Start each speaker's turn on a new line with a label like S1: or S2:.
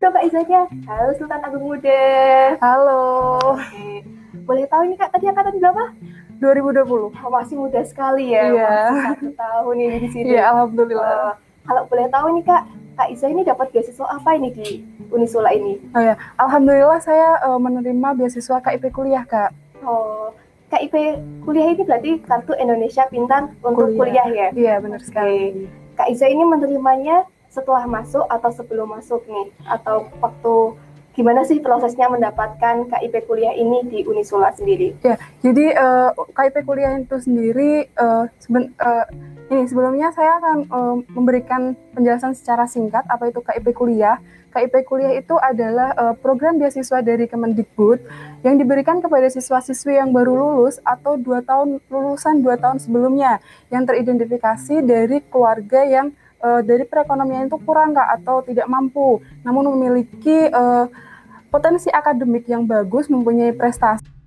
S1: Coba Izanya. Halo Sultan Agung Muda.
S2: Halo,
S1: Oke. Boleh tahu ini Kak, tadi angkatan berapa?
S2: 2020.
S1: Oh, masih muda sekali ya.
S2: Iya.
S1: Masih satu tahun ini di sini.
S2: Iya,
S1: Eh,
S2: alhamdulillah.
S1: kalau boleh tahu nih Kak, Kak Iza ini dapat beasiswa apa ini di Unisula ini?
S2: Alhamdulillah saya eh, menerima beasiswa KIP kuliah, Kak.
S1: Oh, KIP kuliah ini berarti kartu Indonesia Pintar untuk kuliah, ya.
S2: Kuliah. Iya, benar sekali.
S1: Kak Iza ini menerimanya setelah masuk atau sebelum masuk nih atau waktu gimana sih prosesnya mendapatkan KIP kuliah ini di Unisula sendiri?
S2: Jadi eh, KIP kuliah itu sendiri eh, seben- eh, ini sebelumnya saya akan eh, memberikan penjelasan secara singkat apa itu KIP kuliah. KIP kuliah itu adalah eh, program beasiswa dari Kemendikbud yang diberikan kepada siswa-siswi yang baru lulus atau dua tahun lulusan dua tahun sebelumnya yang teridentifikasi dari keluarga yang eh, dari perekonomian itu kurang kak atau tidak mampu, namun memiliki eh, potensi akademik yang bagus, mempunyai prestasi